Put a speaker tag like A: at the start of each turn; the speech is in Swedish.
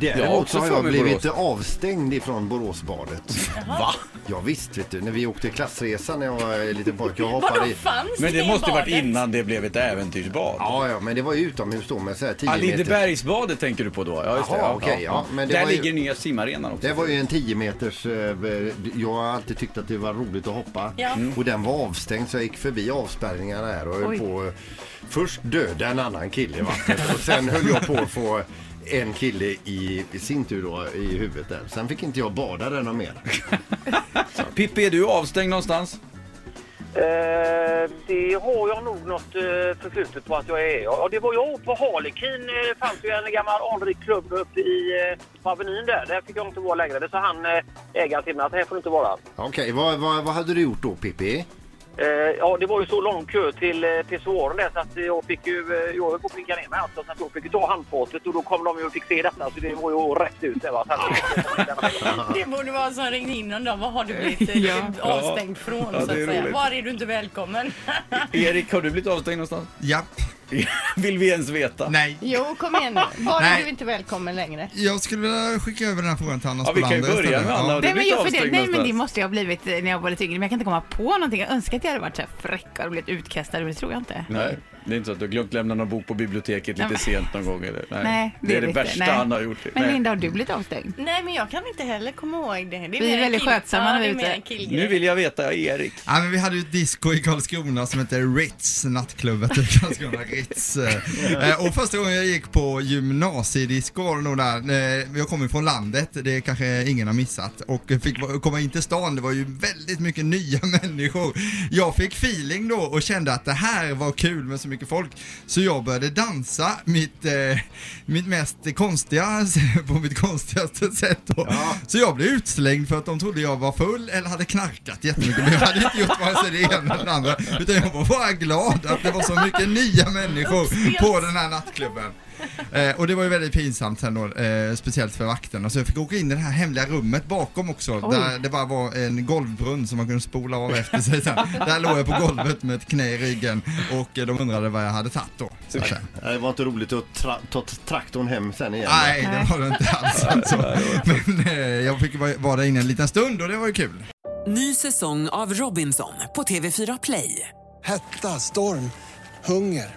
A: Däremot så
B: också
A: har
B: för
A: jag
B: mig
A: blivit
B: Borås.
A: avstängd ifrån Boråsbadet. Va? Ja, visst vet du, när vi åkte klassresa när jag var liten pojke. Jag hoppade
C: Vadå
A: i...
C: fanns
B: Men det
C: i
B: måste ju varit
C: badet?
B: innan det blev ett äventyrsbad. Ja.
A: Ja, ja, men det var ju utomhus då med så här 10 meter.
B: Lindebergsbadet tänker du på då? Ja, just det.
A: Jaha, okej, ja. Men det
B: Där
A: var ju-
B: ligger nya simarenan också.
A: Det var ju en 10 meters, eh, jag har alltid tyckt att det var roligt att hoppa
C: Ja.
A: och den var avstängd så jag gick förbi avspärrningarna här och höll
C: Oj.
A: på eh, först döda en annan kille i vattnet och sen höll jag på att få en kille i, i sin tur då i huvudet där. Sen fick inte jag bada där någon mer.
B: Pippi, är du avstängd någonstans?
D: Eh, det har jag nog något eh, förflutet på att jag är. Ja, det var jag på Harlekin. eh, fanns ju en gammal anrik klubb uppe i eh, på Avenyn där. Där fick jag inte vara längre. Det sa han, eh, ägaren till mig, att här får du inte vara.
A: Okej, vad, vad, vad hade du gjort då Pippi?
D: Eh, ja, det var ju så lång kö till eh, pissoaren där så att jag fick ju... Eh, jag höll på att klinka ner mig alltså. Så att jag fick ju ta handfatet och då kom de ju och fick se detta. Så det var ju rätt ut där va. Så att-
C: Det borde vara så ringde in någon dag. Vad har du blivit eh, avstängd från?
B: Ja,
C: så att
B: det är
C: säga.
B: roligt.
C: Var är du inte välkommen?
B: Erik, har du blivit avstängd någonstans?
E: Japp.
B: Vill vi ens veta?
E: Nej.
F: Jo, kom igen nu. Var är
E: Nej.
F: du inte välkommen längre?
E: Jag skulle vilja skicka över den här frågan till Anna
B: Ja, vi kan ju
E: Spolander
B: börja med
E: istället.
B: Anna. Har du
G: Nej men,
B: blivit
G: jag för det,
B: avstängd
G: nej men det
B: någonstans?
G: måste jag ha blivit eh, när jag var lite yngre, men jag kan inte komma på någonting. Jag önskar att jag hade varit så här fräck och blivit utkastad, men det tror jag inte.
B: Nej, det är inte så att du har glömt lämna någon bok på biblioteket lite
G: Nej, men-
B: sent någon gång eller? Nej,
G: det
B: det, är det
G: vet jag.
B: värsta
G: Nej.
B: han har gjort.
G: Men
B: Nej.
G: Linda, har du blivit avstängd?
C: Nej, men jag kan inte heller komma ihåg det. det
G: Vi är
C: mer en
G: väldigt
C: kill-
G: skötsamma
C: ja,
G: när vi
C: det
G: är
C: är mer
G: ute.
C: en killgrej.
B: Nu vill jag veta, Erik.
E: Ja, men vi hade ju ett disco i Karlskrona som hette Ritz, nattklubben i Karlskrona, Ritz. Eh, Och första gången jag gick på gymnasiedisco var det nog där, eh, jag kommer från landet, det kanske ingen har missat, och fick va- komma in till stan, det var ju väldigt mycket nya människor. Jag fick feeling då och kände att det här var kul med så mycket folk, så jag började dansa mitt, eh, mitt mest konstiga, på mitt konstigaste sätt då. Så jag blev utslängd för att de trodde jag var full eller hade knarkat jättemycket, men jag hade inte gjort vare sig det ena eller det andra, utan jag var bara glad att det var så mycket nya människor på den här nattklubben. Eh, och det var ju väldigt pinsamt sen då, eh, speciellt för vakterna. Så jag fick åka in i det här hemliga rummet bakom också, där det bara var en golvbrunn som man kunde spola av efter sig sen. Där låg jag på golvet med ett knä i ryggen och eh, de undrade vad jag hade tagit då. Så att säga.
A: Nej, Det var inte roligt att tra- ta traktorn hem sen igen.
E: Nej, det var det inte alls alltså. Men eh, jag fick vara- vara där inne en liten stund och det var ju kul.
H: Ny säsong av Robinson på TV4 Play.
I: Hetta, storm, hunger.